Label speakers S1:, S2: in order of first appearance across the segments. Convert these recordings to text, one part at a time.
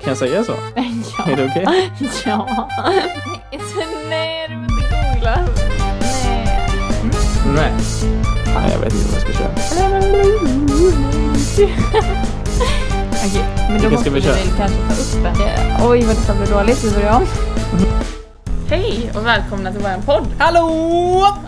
S1: Kan jag säga så? Är
S2: Ja.
S1: det okej?
S2: Ja. Nej, så- Nej, du måste googla. Nej.
S1: Nej. Nej, jag vet inte vad jag ska köra.
S2: Okej, men då
S1: Vilken ska
S2: måste
S1: vi
S2: vi
S1: köra?
S2: väl kanske ta upp en. Eh, Oj, vad detta blev dåligt. Vi börjar om. Hej och välkomna till våran podd.
S1: Hallå!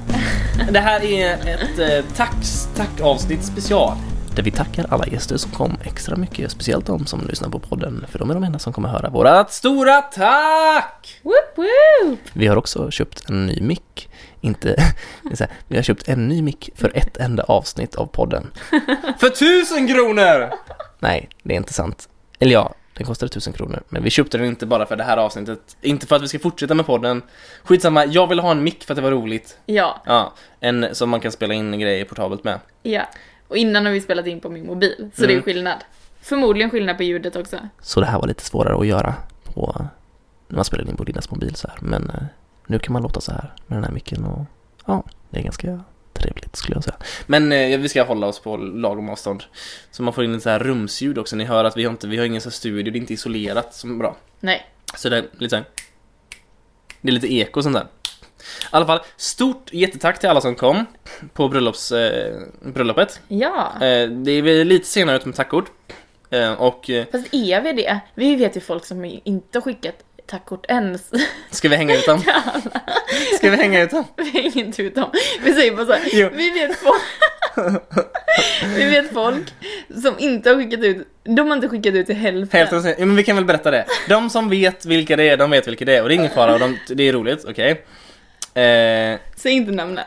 S1: Det här är ett eh, tax, tackavsnitt special. Där vi tackar alla gäster som kom extra mycket, speciellt de som lyssnar på podden, för de är de enda som kommer höra vårat stora tack!
S2: Woop woop!
S1: Vi har också köpt en ny mick. Inte, det är så här, vi har köpt en ny mick för ett enda avsnitt av podden. För tusen kronor! Nej, det är inte sant. Eller ja, den kostade tusen kronor. Men vi köpte den inte bara för det här avsnittet. Inte för att vi ska fortsätta med podden. Skitsamma, jag ville ha en mick för att det var roligt.
S2: Ja,
S1: Ja, en som man kan spela in grejer portabelt med.
S2: ja. Och innan har vi spelat in på min mobil, så det är
S1: Mm.
S2: skillnad. Förmodligen skillnad på ljudet också.
S1: Så det här var lite svårare att göra på, när man spelade in på Lindas mobil så här. Men eh, nu kan man låta så här med den här micken och ja, det är ganska trevligt skulle jag säga. Men eh, vi ska hålla oss på lagom avstånd. Så man får in lite så här rumsljud också. Ni hör att vi har, inte, vi har ingen så här studio, det är inte isolerat som bra.
S2: Nej.
S1: Så det är lite så här, Det är lite eko och sånt där. I alla fall, stort jättetack till alla som kom på bröllops, eh, bröllopet.
S2: Ja.
S1: Eh, det är väl lite senare ut med tackord. Eh, och eh,
S2: Fast är vi det? Vi vet ju folk som inte har skickat tackkort än.
S1: Ska vi hänga ut dem? Ska vi hänga ut dem?
S2: Vi har inget ut om. Vi säger bara så här,
S1: Jo.
S2: vi vet folk... vi vet folk som inte har skickat ut, de har inte skickat ut till hälften.
S1: Hälften säger, ja, men vi kan väl berätta det. De som vet vilka det är, de vet vilka det är. Och det är ingen fara och de, det är roligt, okej. Eh,
S2: Säg inte namnen.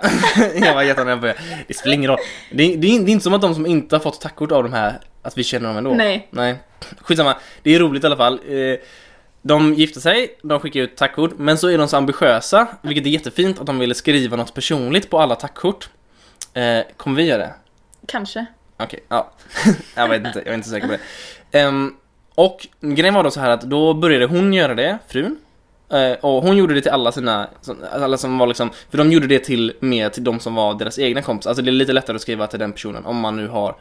S1: jag var jättenervös. på det. Det spelar ingen roll. Det, är- det, är, det är inte som att de som inte har fått tackkort av de här, att vi känner dem ändå.
S2: Nej.
S1: Nej. Skitsamma, det är roligt i alla fall. Eh, de gifte sig, de skickar ut tackkort, men så är de så ambitiösa, vilket är jättefint att de ville skriva något personligt på alla tackkort. Eh, kommer vi göra det?
S2: Kanske.
S1: Okej, ja. jag vet inte, jag är inte säker på det. Ehm, och grejen var då så här att då började hon göra det, frun. Eh, och hon gjorde det till alla sina, som- alla som var liksom, för de gjorde det till mer till de som var deras egna kompisar. Alltså det är lite lättare att skriva till den personen om man nu har,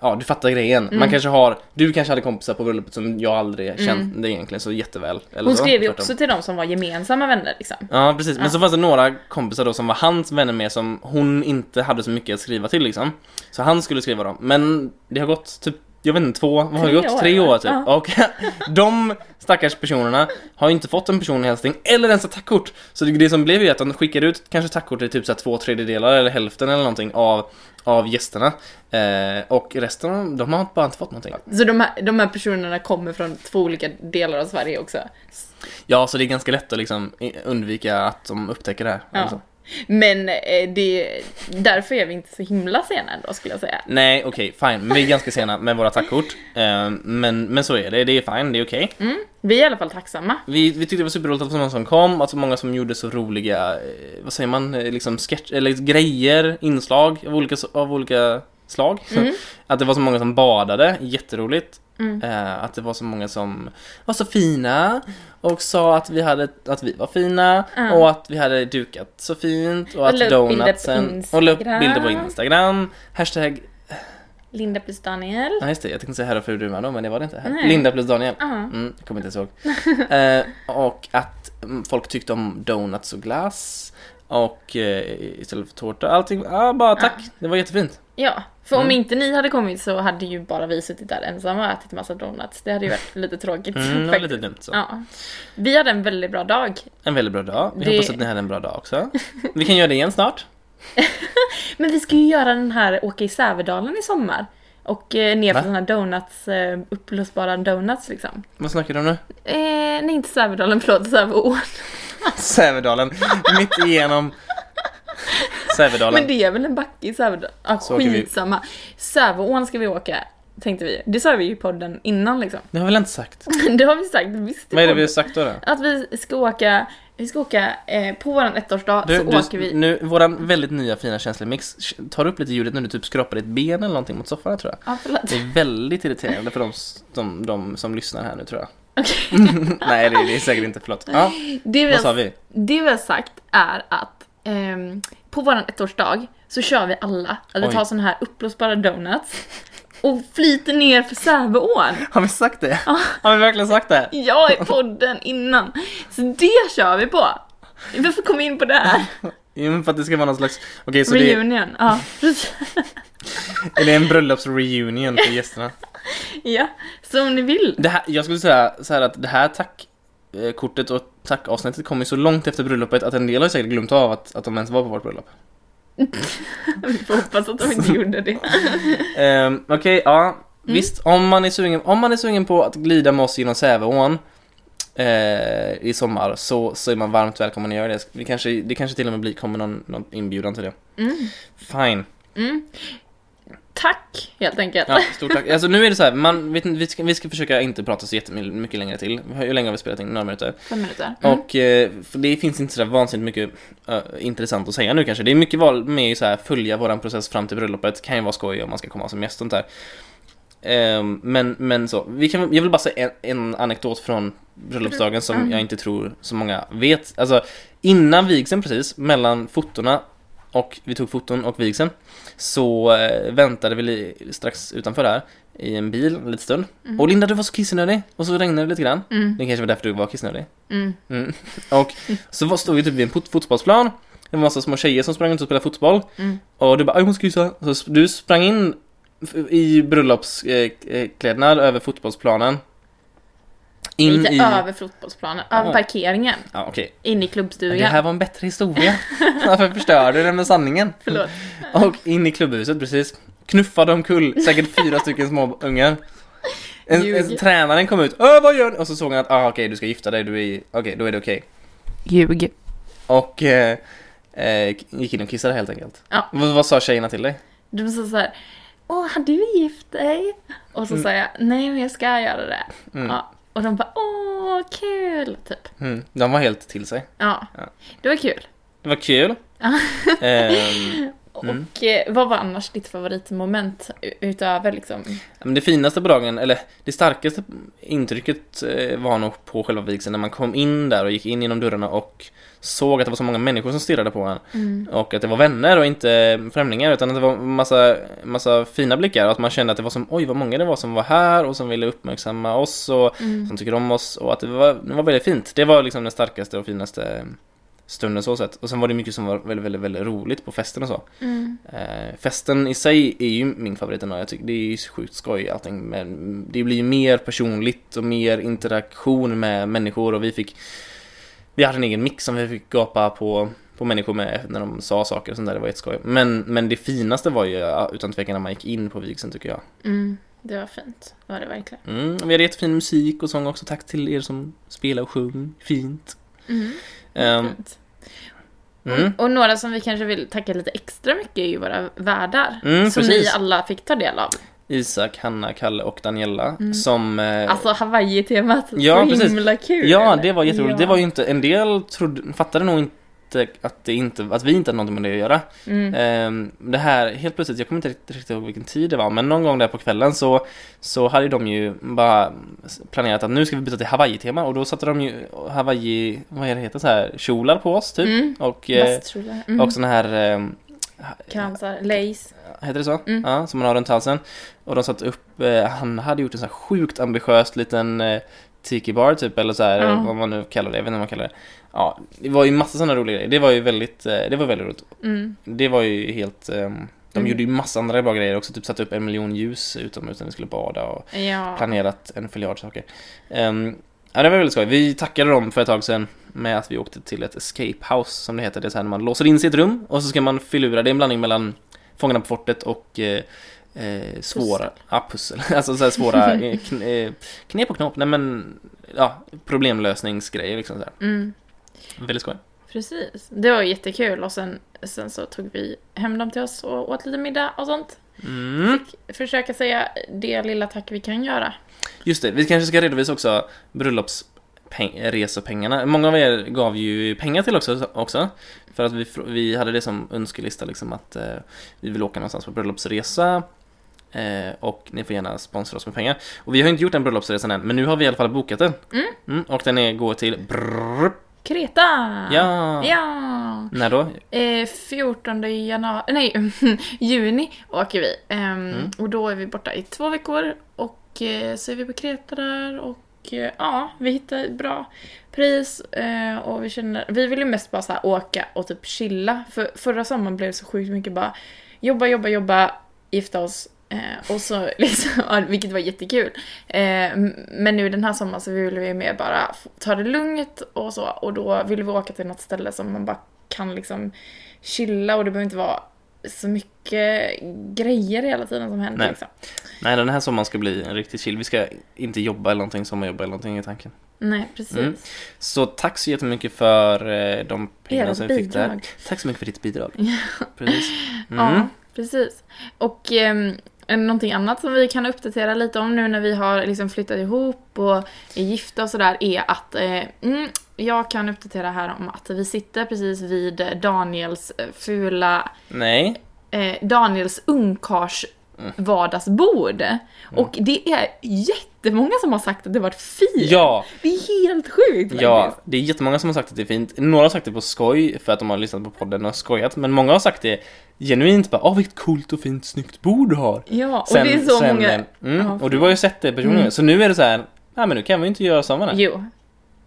S1: ja du fattar grejen.
S2: Mm.
S1: Man kanske har, du kanske hade kompisar på bröllopet som jag aldrig känt det egentligen så jätteväl. Eller
S2: Mm. Hon
S1: så,
S2: skrev ju
S1: tvärtom.
S2: också till de som var gemensamma vänner liksom.
S1: Ja precis, men så fanns det några kompisar då som var hans vänner med som hon inte hade så mycket att skriva till liksom. Så han skulle skriva dem, men det har gått typ, jag vet inte, två, vad har det
S2: Tre
S1: gått?
S2: år,
S1: Tre
S2: va?
S1: år typ.
S2: Ja.
S1: Och de stackars personerna har ju inte fått en personlig hälsning eller ens ett tackkort. Så det, det som blev ju att de skickade ut kanske tackkort till typ så här två tredjedelar eller hälften eller någonting av, av gästerna. Eh, och resten, av dem, de har bara inte fått någonting.
S2: Så de här, de här personerna kommer från två olika delar av Sverige också.
S1: Ja, så det är ganska lätt att liksom i- undvika att de upptäcker det här. liksom. eller så.
S2: Ja. Men eh, det, därför är vi inte så himla sena ändå skulle jag säga.
S1: Nej okej, fine. Men vi är ganska sena med våra tackkort. Eh, men, men så är det, det är fine, det är okej.
S2: Vi är i alla fall tacksamma.
S1: Vi, vi tyckte det var superroligt att så många som kom, att så många som gjorde så roliga, eh, vad säger man, eh, liksom sketch, eller grejer, inslag av olika, av olika slag.
S2: Mm.
S1: Att det var så många som badade, jätteroligt. Eh, att det var så många som var så fina och sa att vi, hade, att vi var fina
S2: Mm.
S1: och att vi hade dukat så fint och,
S2: Och la
S1: att
S2: upp bilder på
S1: donutsen och la upp bilder på
S2: Instagram.
S1: Instagram. Hashtag
S2: Linda plus Daniel.
S1: Ja just det, jag tänkte säga herre och fru Duma då men det var det inte.
S2: Nej.
S1: Linda plus Daniel.
S2: Ja.
S1: Mm, jag kommer inte ens ihåg. eh, och att mm, folk tyckte om donuts och glass. Och eh, istället för tårta, allting. Ja, bara tack. Det var jättefint.
S2: Ja, för
S1: Mm.
S2: om inte ni hade kommit så hade ju bara vi suttit där ensamma och ätit massa donuts. Det hade ju varit lite tråkigt.
S1: Mm, det var
S2: faktiskt.
S1: lite dumt så.
S2: Ja. Vi hade en väldigt bra dag.
S1: En väldigt bra dag. Vi
S2: Det-
S1: hoppas att ni hade en bra dag också. Vi kan göra det igen snart.
S2: Men vi ska ju göra den här Åka i Sävedalen i sommar. Och eh, ner
S1: Va?
S2: på sådana här donuts, eh, uppblåsbara donuts liksom.
S1: Vad snackar du om nu?
S2: Eh, nej, inte Sävedalen, förlåt, Säveån.
S1: Sävedalen. Mitt igenom Sävedalen.
S2: Men det är väl en backe i Sävedalen? Ah,
S1: Så åker vi.
S2: skitsamma. Säveån ska vi åka, tänkte vi. Det sa vi ju i podden innan liksom.
S1: Det har vi väl inte sagt?
S2: Det har vi sagt, visst i
S1: Vad är det vi har
S2: podden.
S1: sagt då? då?
S2: Att vi ska åka, vi ska åka eh, på våran ettårsdag
S1: Du,
S2: så
S1: du,
S2: Alltså,
S1: mm.
S2: åker vi
S1: nu, våran väldigt nya fina känslemix sh- tar upp lite ljudet när du typ skrapar ditt ben eller någonting mot soffan tror jag.
S2: Ja, förlåt.
S1: Det är väldigt irriterande för de, s- de, de som lyssnar här nu tror jag.
S2: Okej.
S1: Nej det, det är säkert inte, förlåt. Ja,
S2: Det, vi
S1: vad sa
S2: har,
S1: vi?
S2: det vi har sagt är att ehm, på våran ettårsdag så kör vi alla att vi
S1: Oj.
S2: tar såna här uppblåsbara donuts och flyter ner för Säveån.
S1: Har vi sagt det? Har vi verkligen sagt det?
S2: Jag i podden innan. Så det kör vi på. Varför kom vi in på det här?
S1: Jo, men för att det ska vara någon slags... Okej, så det,
S2: Reunion. Ja, precis.
S1: är det en bröllopsreunion för gästerna?
S2: ja, som ni vill.
S1: Det här, jag skulle säga så här att det här tackkortet och tackavsnittet kommer ju så långt efter bröllopet att en del har ju säkert glömt av att, att de ens var på vårt bröllop.
S2: Vi får hoppas att de inte gjorde det.
S1: Ehm, Okej, ja. Visst, om man, är sugen, om man är sugen på att glida med oss genom Säveån eh, i sommar så, så är man varmt välkommen att göra det. Vi kanske, det kanske till och med blir, kommer någon, någon inbjudan till det.
S2: Mm.
S1: Fine.
S2: Mm. Tack, helt enkelt.
S1: Ja, stort tack. Alltså nu är det så här, man, vet, inte, vi, ska, vi ska försöka inte prata så jättemycket längre till. Hur länge har vi spelat in? Några minuter.
S2: Fem minuter. Mm.
S1: Och eh, för det finns inte så där vansinnigt mycket eh, intressant att säga nu kanske. Det är mycket val med att så här, följa våran process fram till bröllopet. Kan ju vara skoj om man ska komma som gäst och sånt där. Ehm, men, men så, vi kan, jag vill bara säga en, en anekdot från bröllopsdagen som
S2: Mm.
S1: jag inte tror så många vet. Alltså innan vigseln precis, mellan fotona och vi tog foton och vigseln så eh, väntade vi li, strax utanför där i en bil en liten stund.
S2: Mm.
S1: Och Linda du var så kissnödig och så regnade det lite grann.
S2: Mm.
S1: Det kanske var därför du var kissnödig.
S2: Mm.
S1: Mm. Och så var- stod vi typ vid en fot- fotbollsplan. Det var en massa små tjejer som sprang runt och spelade fotboll.
S2: Mm.
S1: Och du bara "Aj, hon ska kyssa. Så sp- du sprang in f- i bröllopsklädnad över fotbollsplanen. In
S2: Lite
S1: i...
S2: över fotbollsplanen, över
S1: Ja.
S2: parkeringen,
S1: Ja, okej.
S2: in i
S1: Det
S2: klubbstugan.
S1: här var en bättre historia. Varför förstörde du den med sanningen?
S2: Förlåt.
S1: Och in i klubbhuset, precis. Knuffade omkull säkert fyra stycken små ungar. En, en,
S2: Ljug.
S1: tränaren kom ut, Öh, vad gör ni? Och så såg han att, ah, okej du ska gifta dig, du är, okej då är det okej.
S2: Ljug.
S1: Och eh, eh, gick in och kissade helt enkelt.
S2: Ja.
S1: Vad, vad sa tjejerna till dig?
S2: Du sa såhär, åh har du gift dig? Och så sa jag, nej men jag ska göra det.
S1: Mm.
S2: Ja. Och de bara, åh kul! Typ.
S1: Mm, de var helt till sig.
S2: Ja.
S1: Ja.
S2: det var kul.
S1: Det var kul.
S2: Ja.
S1: Ehm, Mm.
S2: Och eh, vad var annars ditt favoritmoment u- utöver liksom?
S1: men det finaste på dagen, eller det starkaste intrycket eh, var nog på själva vigseln när man kom in där och gick in genom dörrarna och såg att det var så många människor som stirrade på en. Och att det var vänner och inte eh, främlingar utan att det var massa, massa fina blickar och att man kände att det var som oj vad många det var som var här och som ville uppmärksamma oss och
S2: Mm.
S1: som tycker om oss och att det var, det var väldigt fint. Det var liksom den starkaste och finaste stunden så sett. Och sen var det mycket som var väldigt, väldigt, väldigt roligt på festen och så.
S2: Mm.
S1: Eh, festen i sig är ju min favorit ändå. Jag tycker det är ju sjukt skoj allting men det blir ju mer personligt och mer interaktion med människor och vi fick Vi hade en egen mix som vi fick gapa på på människor med när de sa saker och sånt där, det var jätteskoj. Men, men det finaste var ju ja, utan tvekan när man gick in på vigseln tycker jag.
S2: Mm. Det var fint, det var det verkligen.
S1: Mm, och vi hade jättefin musik och sång också, tack till er som spelar och sjöng, fint.
S2: Mm.
S1: Ehm,
S2: fint.
S1: mm.
S2: Och några som vi kanske vill tacka lite extra mycket är ju våra värdar.
S1: Mm,
S2: som
S1: precis.
S2: ni alla fick ta del av.
S1: Isak, Hanna, Kalle och Daniela
S2: Mm.
S1: som... eh,
S2: Alltså Hawaii-temat,
S1: Ja,
S2: så
S1: precis.
S2: himla kul!
S1: Ja, det var jätteroligt.
S2: Ja.
S1: Det var ju inte, en del trodde, fattade nog inte att, det inte att vi inte hade någonting med det att göra.
S2: Mm.
S1: Ehm, det här, helt plötsligt, jag kommer inte riktigt, riktigt ihåg vilken tid det var, men någon gång där på kvällen så, så hade de ju bara planerat att nu ska vi byta till Hawaii-tema och då satte de ju Hawaii, vad är det heter, så här, kjolar på oss typ.
S2: Mm.
S1: Och, eh,
S2: Vasstrullar. Mm.
S1: och såna här ehm,
S2: Kransar, lace.
S1: Heter det så?
S2: Mm.
S1: Ja, som man har runt halsen. Och de satte upp, eh, han hade gjort en sån här sjukt ambitiös liten eh, tiki-bar typ, eller så här,
S2: Ja.
S1: vad man nu kallar det, jag vet inte vad man kallar det. Ja, det var ju massa sådana roliga grejer. Det var ju väldigt, eh, det var väldigt roligt.
S2: Mm.
S1: Det var ju helt, ehm, de
S2: Mm.
S1: gjorde ju massa andra bra grejer också, typ satte upp en miljon ljus utomhus när vi skulle bada och
S2: Ja.
S1: planerat en miljard saker. Ehm, ja, det var väldigt skoj. Vi tackade dem för ett tag sedan med att vi åkte till ett escape house som det heter. Det är så här när man låser in sig i ett rum och så ska man filura. Det är en blandning mellan Fångarna på fortet och eh, eh, svåra pussel. Ja, pussel. Alltså så här svåra eh, kn- eh, knep och knop. Nej men ja, problemlösningsgrejer liksom. Så här.
S2: Mm.
S1: Väldigt skoj.
S2: Precis. Det var jättekul och sen, sen så tog vi hem dem till oss och åt lite middag och sånt.
S1: Mm.
S2: Fick försöka säga det lilla tack vi kan göra.
S1: Just det, vi kanske ska redovisa också bröllopsresepengarna. Många av er gav ju pengar till också. också för att vi, fr- vi hade det som önskelista liksom att eh, vi vill åka någonstans på bröllopsresa. Eh, och ni får gärna sponsra oss med pengar. Och vi har ju inte gjort den bröllopsresan än, men nu har vi i alla fall bokat den.
S2: Mm.
S1: och den är, går till brrrr,
S2: Kreta!
S1: Ja.
S2: Ja!
S1: När då?
S2: Eh, 14 januari, nej, juni åker vi. Ehm,
S1: Mm.
S2: Och då är vi borta i två veckor och eh, så är vi på Kreta där och eh, ja, vi hittar ett bra pris eh, och vi känner, vi vill ju mest bara så här åka och typ chilla. För förra sommaren blev det så sjukt mycket bara jobba, jobba, jobba, gifta oss. Eh, och så liksom, ja, vilket var jättekul. Eh, m- men nu den här sommaren så vill vi mer bara f- ta det lugnt och så. Och då vill vi åka till något ställe som man bara kan liksom chilla och det behöver inte vara så mycket grejer hela tiden som händer
S1: Nej.
S2: liksom.
S1: Nej, den här sommaren ska bli en riktig chill. Vi ska inte jobba eller någonting, sommarjobba eller någonting i tanken.
S2: Nej, precis.
S1: Mm. Så tack så jättemycket för eh, de pengarna
S2: Ert
S1: som vi fick där.
S2: bidrag.
S1: Tack så mycket för ditt bidrag. Precis.
S2: Ja,
S1: Mm.
S2: precis. Och ehm, någonting annat som vi kan uppdatera lite om nu när vi har liksom flyttat ihop och är gifta och sådär är att eh, mm, jag kan uppdatera här om att vi sitter precis vid Daniels eh, fula
S1: Nej.
S2: eh, Daniels ungkars
S1: Mm.
S2: vardagsbord. Och det är jättemånga som har sagt att det varit fint.
S1: Ja,
S2: Det är helt sjukt faktiskt.
S1: ja, det är jättemånga som har sagt att det är fint. Några har sagt det på skoj för att de har lyssnat på podden och skojat, men många har sagt det genuint bara, åh vilket coolt och fint snyggt bord du har.
S2: Ja, och det är så många...
S1: eh, Mm,
S2: Ja, Mm.
S1: och du har ju sett det personligen, så nu är det så här, nej men nu kan vi inte göra sådana.
S2: Jo.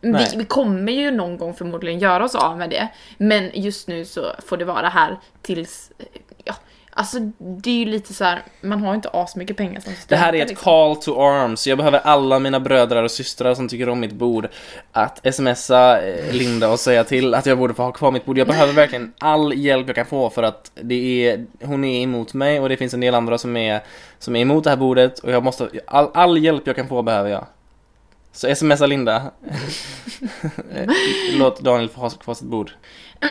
S2: Vi,
S1: Nej.
S2: vi kommer ju någon gång förmodligen göra oss av med det. Men just nu så får det vara här tills... eh, Ja, alltså det är ju lite så här, man har ju inte asmycket pengar som liksom.
S1: Det
S2: student.
S1: här är ett call to arms. Jag behöver alla mina bröder och systrar som tycker om mitt bord att smsa eh, Linda och säga till att jag borde få ha kvar mitt bord. Jag behöver verkligen all hjälp jag kan få för att det är, hon är emot mig och det finns en del andra som är, som är emot det här bordet och jag måste, all, all hjälp jag kan få behöver jag. Så smsa Linda. Låt Daniel få ha kvar sitt bord.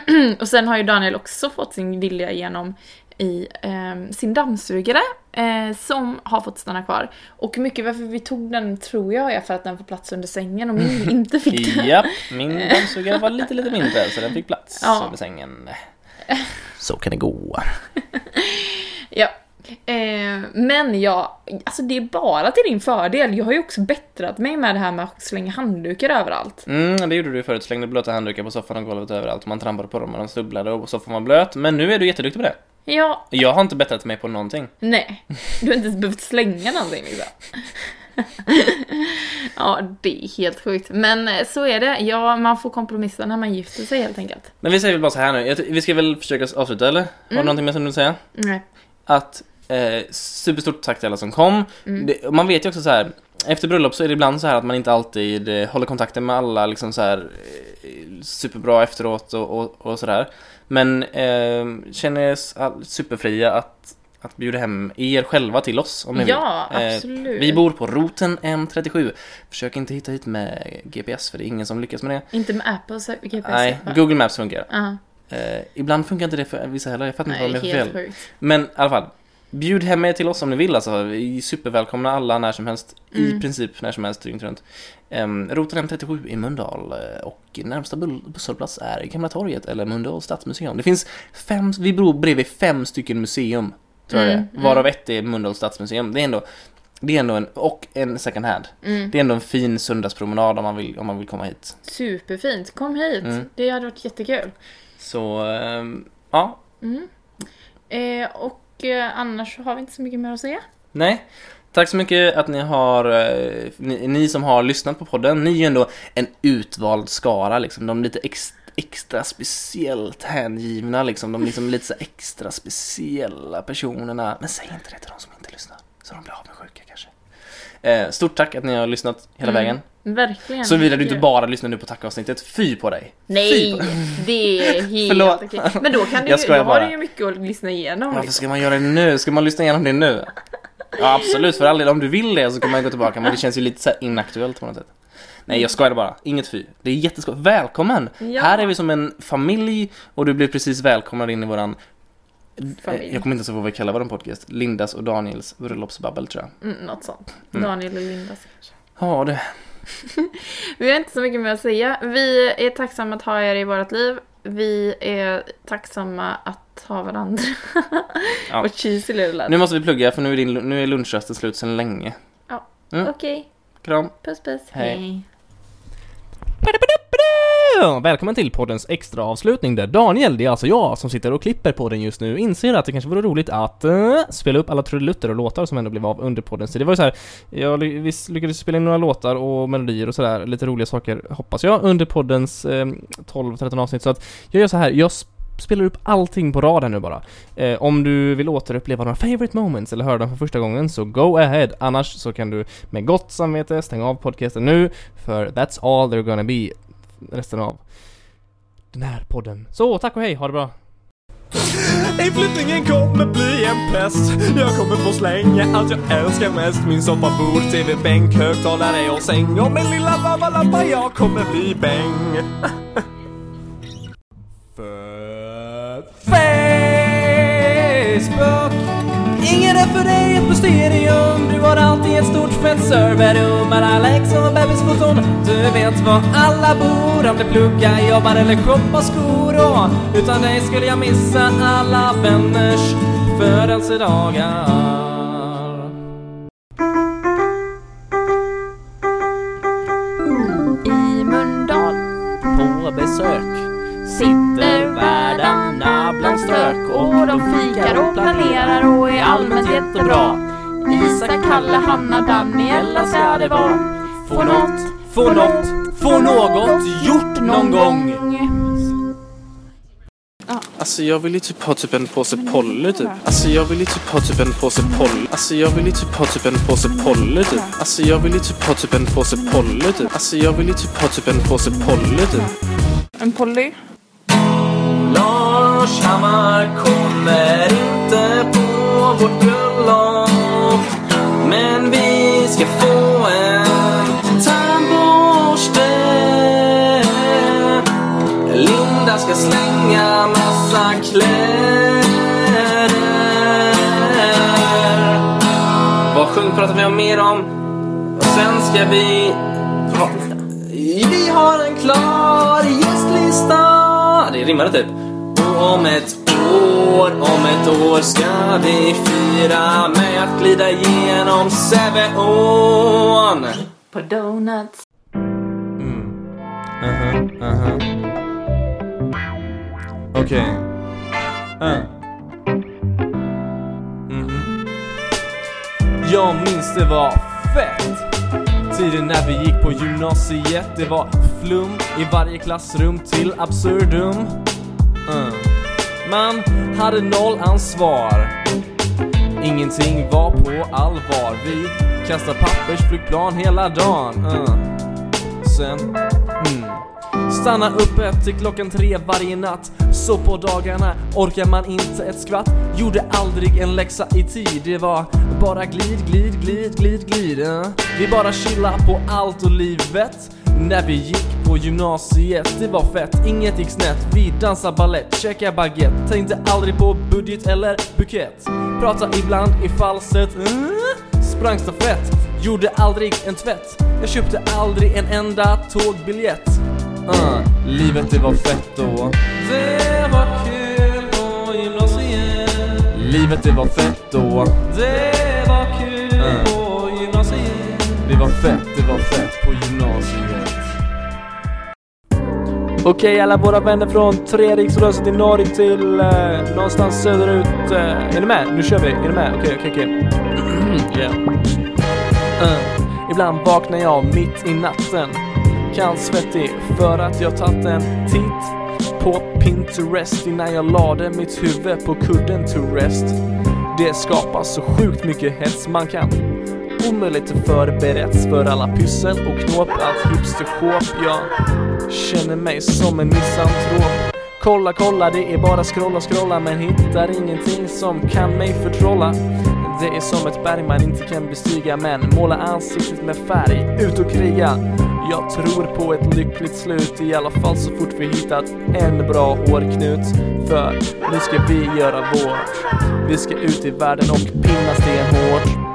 S2: Mm, Och sen har ju Daniel också fått sin vilja igenom i ehm, sin dammsugare eh, som har fått stanna kvar. Och mycket varför vi tog den tror jag är för att den får plats under sängen och min inte fick den.
S1: Japp, min dammsugare var lite, lite mindre så den fick plats
S2: Ja.
S1: över sängen. Så kan det gå.
S2: Ja. Eh, men jag, alltså det är bara till din fördel. Jag har ju också bättrat mig med det här med att slänga handdukar överallt.
S1: Mm, det gjorde du förut. Slängde blöta handdukar på soffan och golvet överallt. Man trampade på dem och de snubblade och soffan var blöt. Men nu är du jätteduktig på det.
S2: Ja,
S1: Jag har inte bättrat mig på någonting.
S2: nej. Du har inte ens behövt slänga någonting liksom. ja, det är helt sjukt. Men eh, så är det. Ja, man får kompromissa när man gifter sig helt enkelt.
S1: Men vi säger väl bara så här nu. Jag ty- Vi ska väl försöka avsluta eller? Har du någonting mer som du vill säga?
S2: Nej.
S1: Att eh, superstort tack till alla som kom.
S2: Mm.
S1: Det, man vet ju också så här. Efter bröllop så är det ibland så här att man inte alltid eh, håller kontakten med alla liksom så här eh, superbra efteråt och, och, och sådär. Men eh, känner er s- all- superfria att, att bjuda hem er själva till oss om ni vill.
S2: Ja,
S1: Eh,
S2: absolut.
S1: Vi bor på roten M37. Försök inte hitta hit med GPS för det är ingen som lyckas med det.
S2: Inte med Apple så GPS.
S1: Nej,
S2: va?
S1: Google Maps funkar.
S2: Ja.
S1: Eh, ibland funkar inte det för vissa heller, jag fattar inte
S2: Nej,
S1: vad de är för
S2: helt
S1: fel.
S2: sjukt.
S1: Men i alla fall, bjud hem er till oss om ni vill alltså. Vi är supervälkomna alla när som helst, i
S2: Mm.
S1: princip när som helst dygnet runt. Um, roten M37 i Mölndal eh, och närmsta bull- busshållplats är Gamla torget eller Mölndal stadsmuseum. Det finns fem, vi bor bredvid fem stycken museum, tror jag
S2: Mm,
S1: det är. Varav ett är Mölndal stadsmuseum. Det är ändå, det är ändå en, och en second hand.
S2: Mm.
S1: Det är ändå en fin söndagspromenad om man vill, om man vill komma hit.
S2: Superfint. Kom hit.
S1: Mm.
S2: Det hade varit jättekul.
S1: Så, ehm, ja.
S2: Mm. Eh, och eh, annars så har vi inte så mycket mer att säga.
S1: Nej. Tack så mycket att ni har, eh, ni, ni som har lyssnat på podden, ni är ju ändå en utvald skara liksom, de lite ex, extra speciellt hängivna liksom, de liksom lite så här extra speciella personerna. Men säg inte det till de som inte lyssnar, så de blir avundsjuka kanske. Eh, stort tack att ni har lyssnat hela
S2: Mm.
S1: vägen.
S2: Verkligen.
S1: Såvida du inte
S2: Gud.
S1: bara lyssnar nu på tackavsnittet, fy på dig!
S2: Nej, det är
S1: Förlåt.
S2: helt okej. Men då kan du
S1: Jag
S2: ju, då
S1: skojar
S2: har
S1: bara.
S2: du ju mycket att lyssna igenom.
S1: Varför
S2: liksom.
S1: ska man göra det nu? Ska man lyssna igenom det nu? Ja, absolut, för all del, om du vill det så kan man gå tillbaka, men det känns ju lite så här inaktuellt på något sätt. Nej, jag skojade bara. Inget fy. Det är jätteskoj. Välkommen!
S2: Ja.
S1: Här är vi som en familj och du blir precis välkomnad in i våran...
S2: Familj.
S1: Eh, Jag kommer inte ens ihåg vad vi kallar våran podcast. Lindas och Daniels bröllopsbabbel, tror jag.
S2: Mm, något sånt.
S1: Mm.
S2: Daniel och Linda kanske.
S1: Ja, du.
S2: Vi har inte så mycket mer att säga. Vi är tacksamma att ha er i vårt liv. Vi är tacksamma att ha varandra.
S1: Ja.
S2: Vad cheesy det lät.
S1: Nu måste vi plugga, för nu är, din, nu är lunchrasten slut sedan länge.
S2: Ja.
S1: Mm.
S2: Okej,
S1: Kram.
S2: puss puss.
S1: Hej.
S2: Hej.
S1: Hallå! Välkommen till poddens extra avslutning där Daniel, det är alltså jag som sitter och klipper podden just nu, inser att det kanske vore roligt att eh, spela upp alla trudelutter och låtar som ändå blev av under podden. Så det var ju så här, jag ly- visst lyckades spela in några låtar och melodier och sådär, lite roliga saker hoppas jag, under poddens eh, 12-13 avsnitt. Så att jag gör så här, jag sp- spelar upp allting på rad här nu bara. Eh, om du vill återuppleva några favorite moments eller höra dem för första gången så go ahead, annars så kan du med gott samvete stänga av podcasten nu, för that's all they're gonna be resten av den här podden. Så, tack och hej, ha det bra!
S3: Inflyttningen kommer bli en pest Jag kommer få slänga allt jag älskar mest Min soffabord, tv-bänk, högtalare och säng Och min lilla babalampa, jag kommer bli bäng För Facebook
S1: Ingen är för dig ett mysterium Du har alltid ett stort fett serverrum Med alla ex och bebisfoton Du vet var alla bor Om du pluggar, jobbar eller shoppar skor och Utan dig skulle jag missa alla vänners födelsedagar
S2: I Mölndal
S1: På besök sitter värdarna bland strök
S2: och de fikar och planerar och är allmänt jättebra. Isak, Kalle, Hanna, Daniela ska det vara. Få något,
S1: få något, få något gjort någon gång.
S4: Alltså jag vill ju typ ha typ en påse Polly typ. Alltså jag vill ju typ ha typ en påse Polly. Alltså jag vill ju typ ha typ en påse Polly typ. Alltså jag vill ju typ ha typ en påse Polly typ. Alltså jag vill ju typ ha typ en påse Polly typ.
S2: En Polly?
S1: Lars Hammar kommer inte på vårt bröllop. Men vi ska få en tandborste. Linda ska slänga massa kläder. Vad sjukt pratar vi om mer om. Och sen ska vi... ha- Vi har en klar gästlista. Det rimmade typ. Och om ett år, om ett år ska vi fira med att glida genom Säveån.
S2: På donuts.
S1: Mm. Uh-huh,
S3: Okej
S1: Uh. Mm-hmm. Jag minns det var fett Tiden när vi gick på gymnasiet Det var flum i varje klassrum till absurdum Mm. Man hade noll ansvar Ingenting var på allvar Vi kastade pappersflygplan hela dagen Mm. Sen mm. Stanna uppe till klockan tre varje natt Så på dagarna orkar man inte ett skvatt Gjorde aldrig en läxa i tid Det var bara glid, glid, glid, glid, glid eh. Vi bara chilla på allt och livet När vi gick på gymnasiet Det var fett, inget gick snett Vi dansade ballett, käkade baguette Tänkte aldrig på budget eller bukett Prata ibland i falsett eh. Sprang stafett Gjorde aldrig en tvätt Jag köpte aldrig en enda tågbiljett Ah, livet det var fett då Det var kul på gymnasiet Livet det var fett då Det var kul på gymnasiet Det var fett, det var fett på gymnasiet Okej alla våra vänner från Treriksröset i norr till eh, någonstans söderut. Eh, är ni med? Nu kör vi. Är ni med? Okej, okej, okej. yeah. Eh, ibland vaknar jag mitt i natten. Kallsvettig för att jag tagit en titt på Pinterest innan jag lade mitt huvud på kudden to rest. Det skapar så sjukt mycket hets man kan omöjligt förberetts för alla pyssel och knåp, allt hipsterskåp. Jag Känner mig som en misantrop Kolla, kolla, det är bara scrolla, scrolla Men hittar ingenting som kan mig förtrolla Det är som ett berg man inte kan bestiga Men måla ansiktet med färg, ut och kriga Jag tror på ett lyckligt slut I alla fall så fort vi hittat en bra hårknut För nu ska vi göra vårt Vi ska ut i världen och pinna stenhårt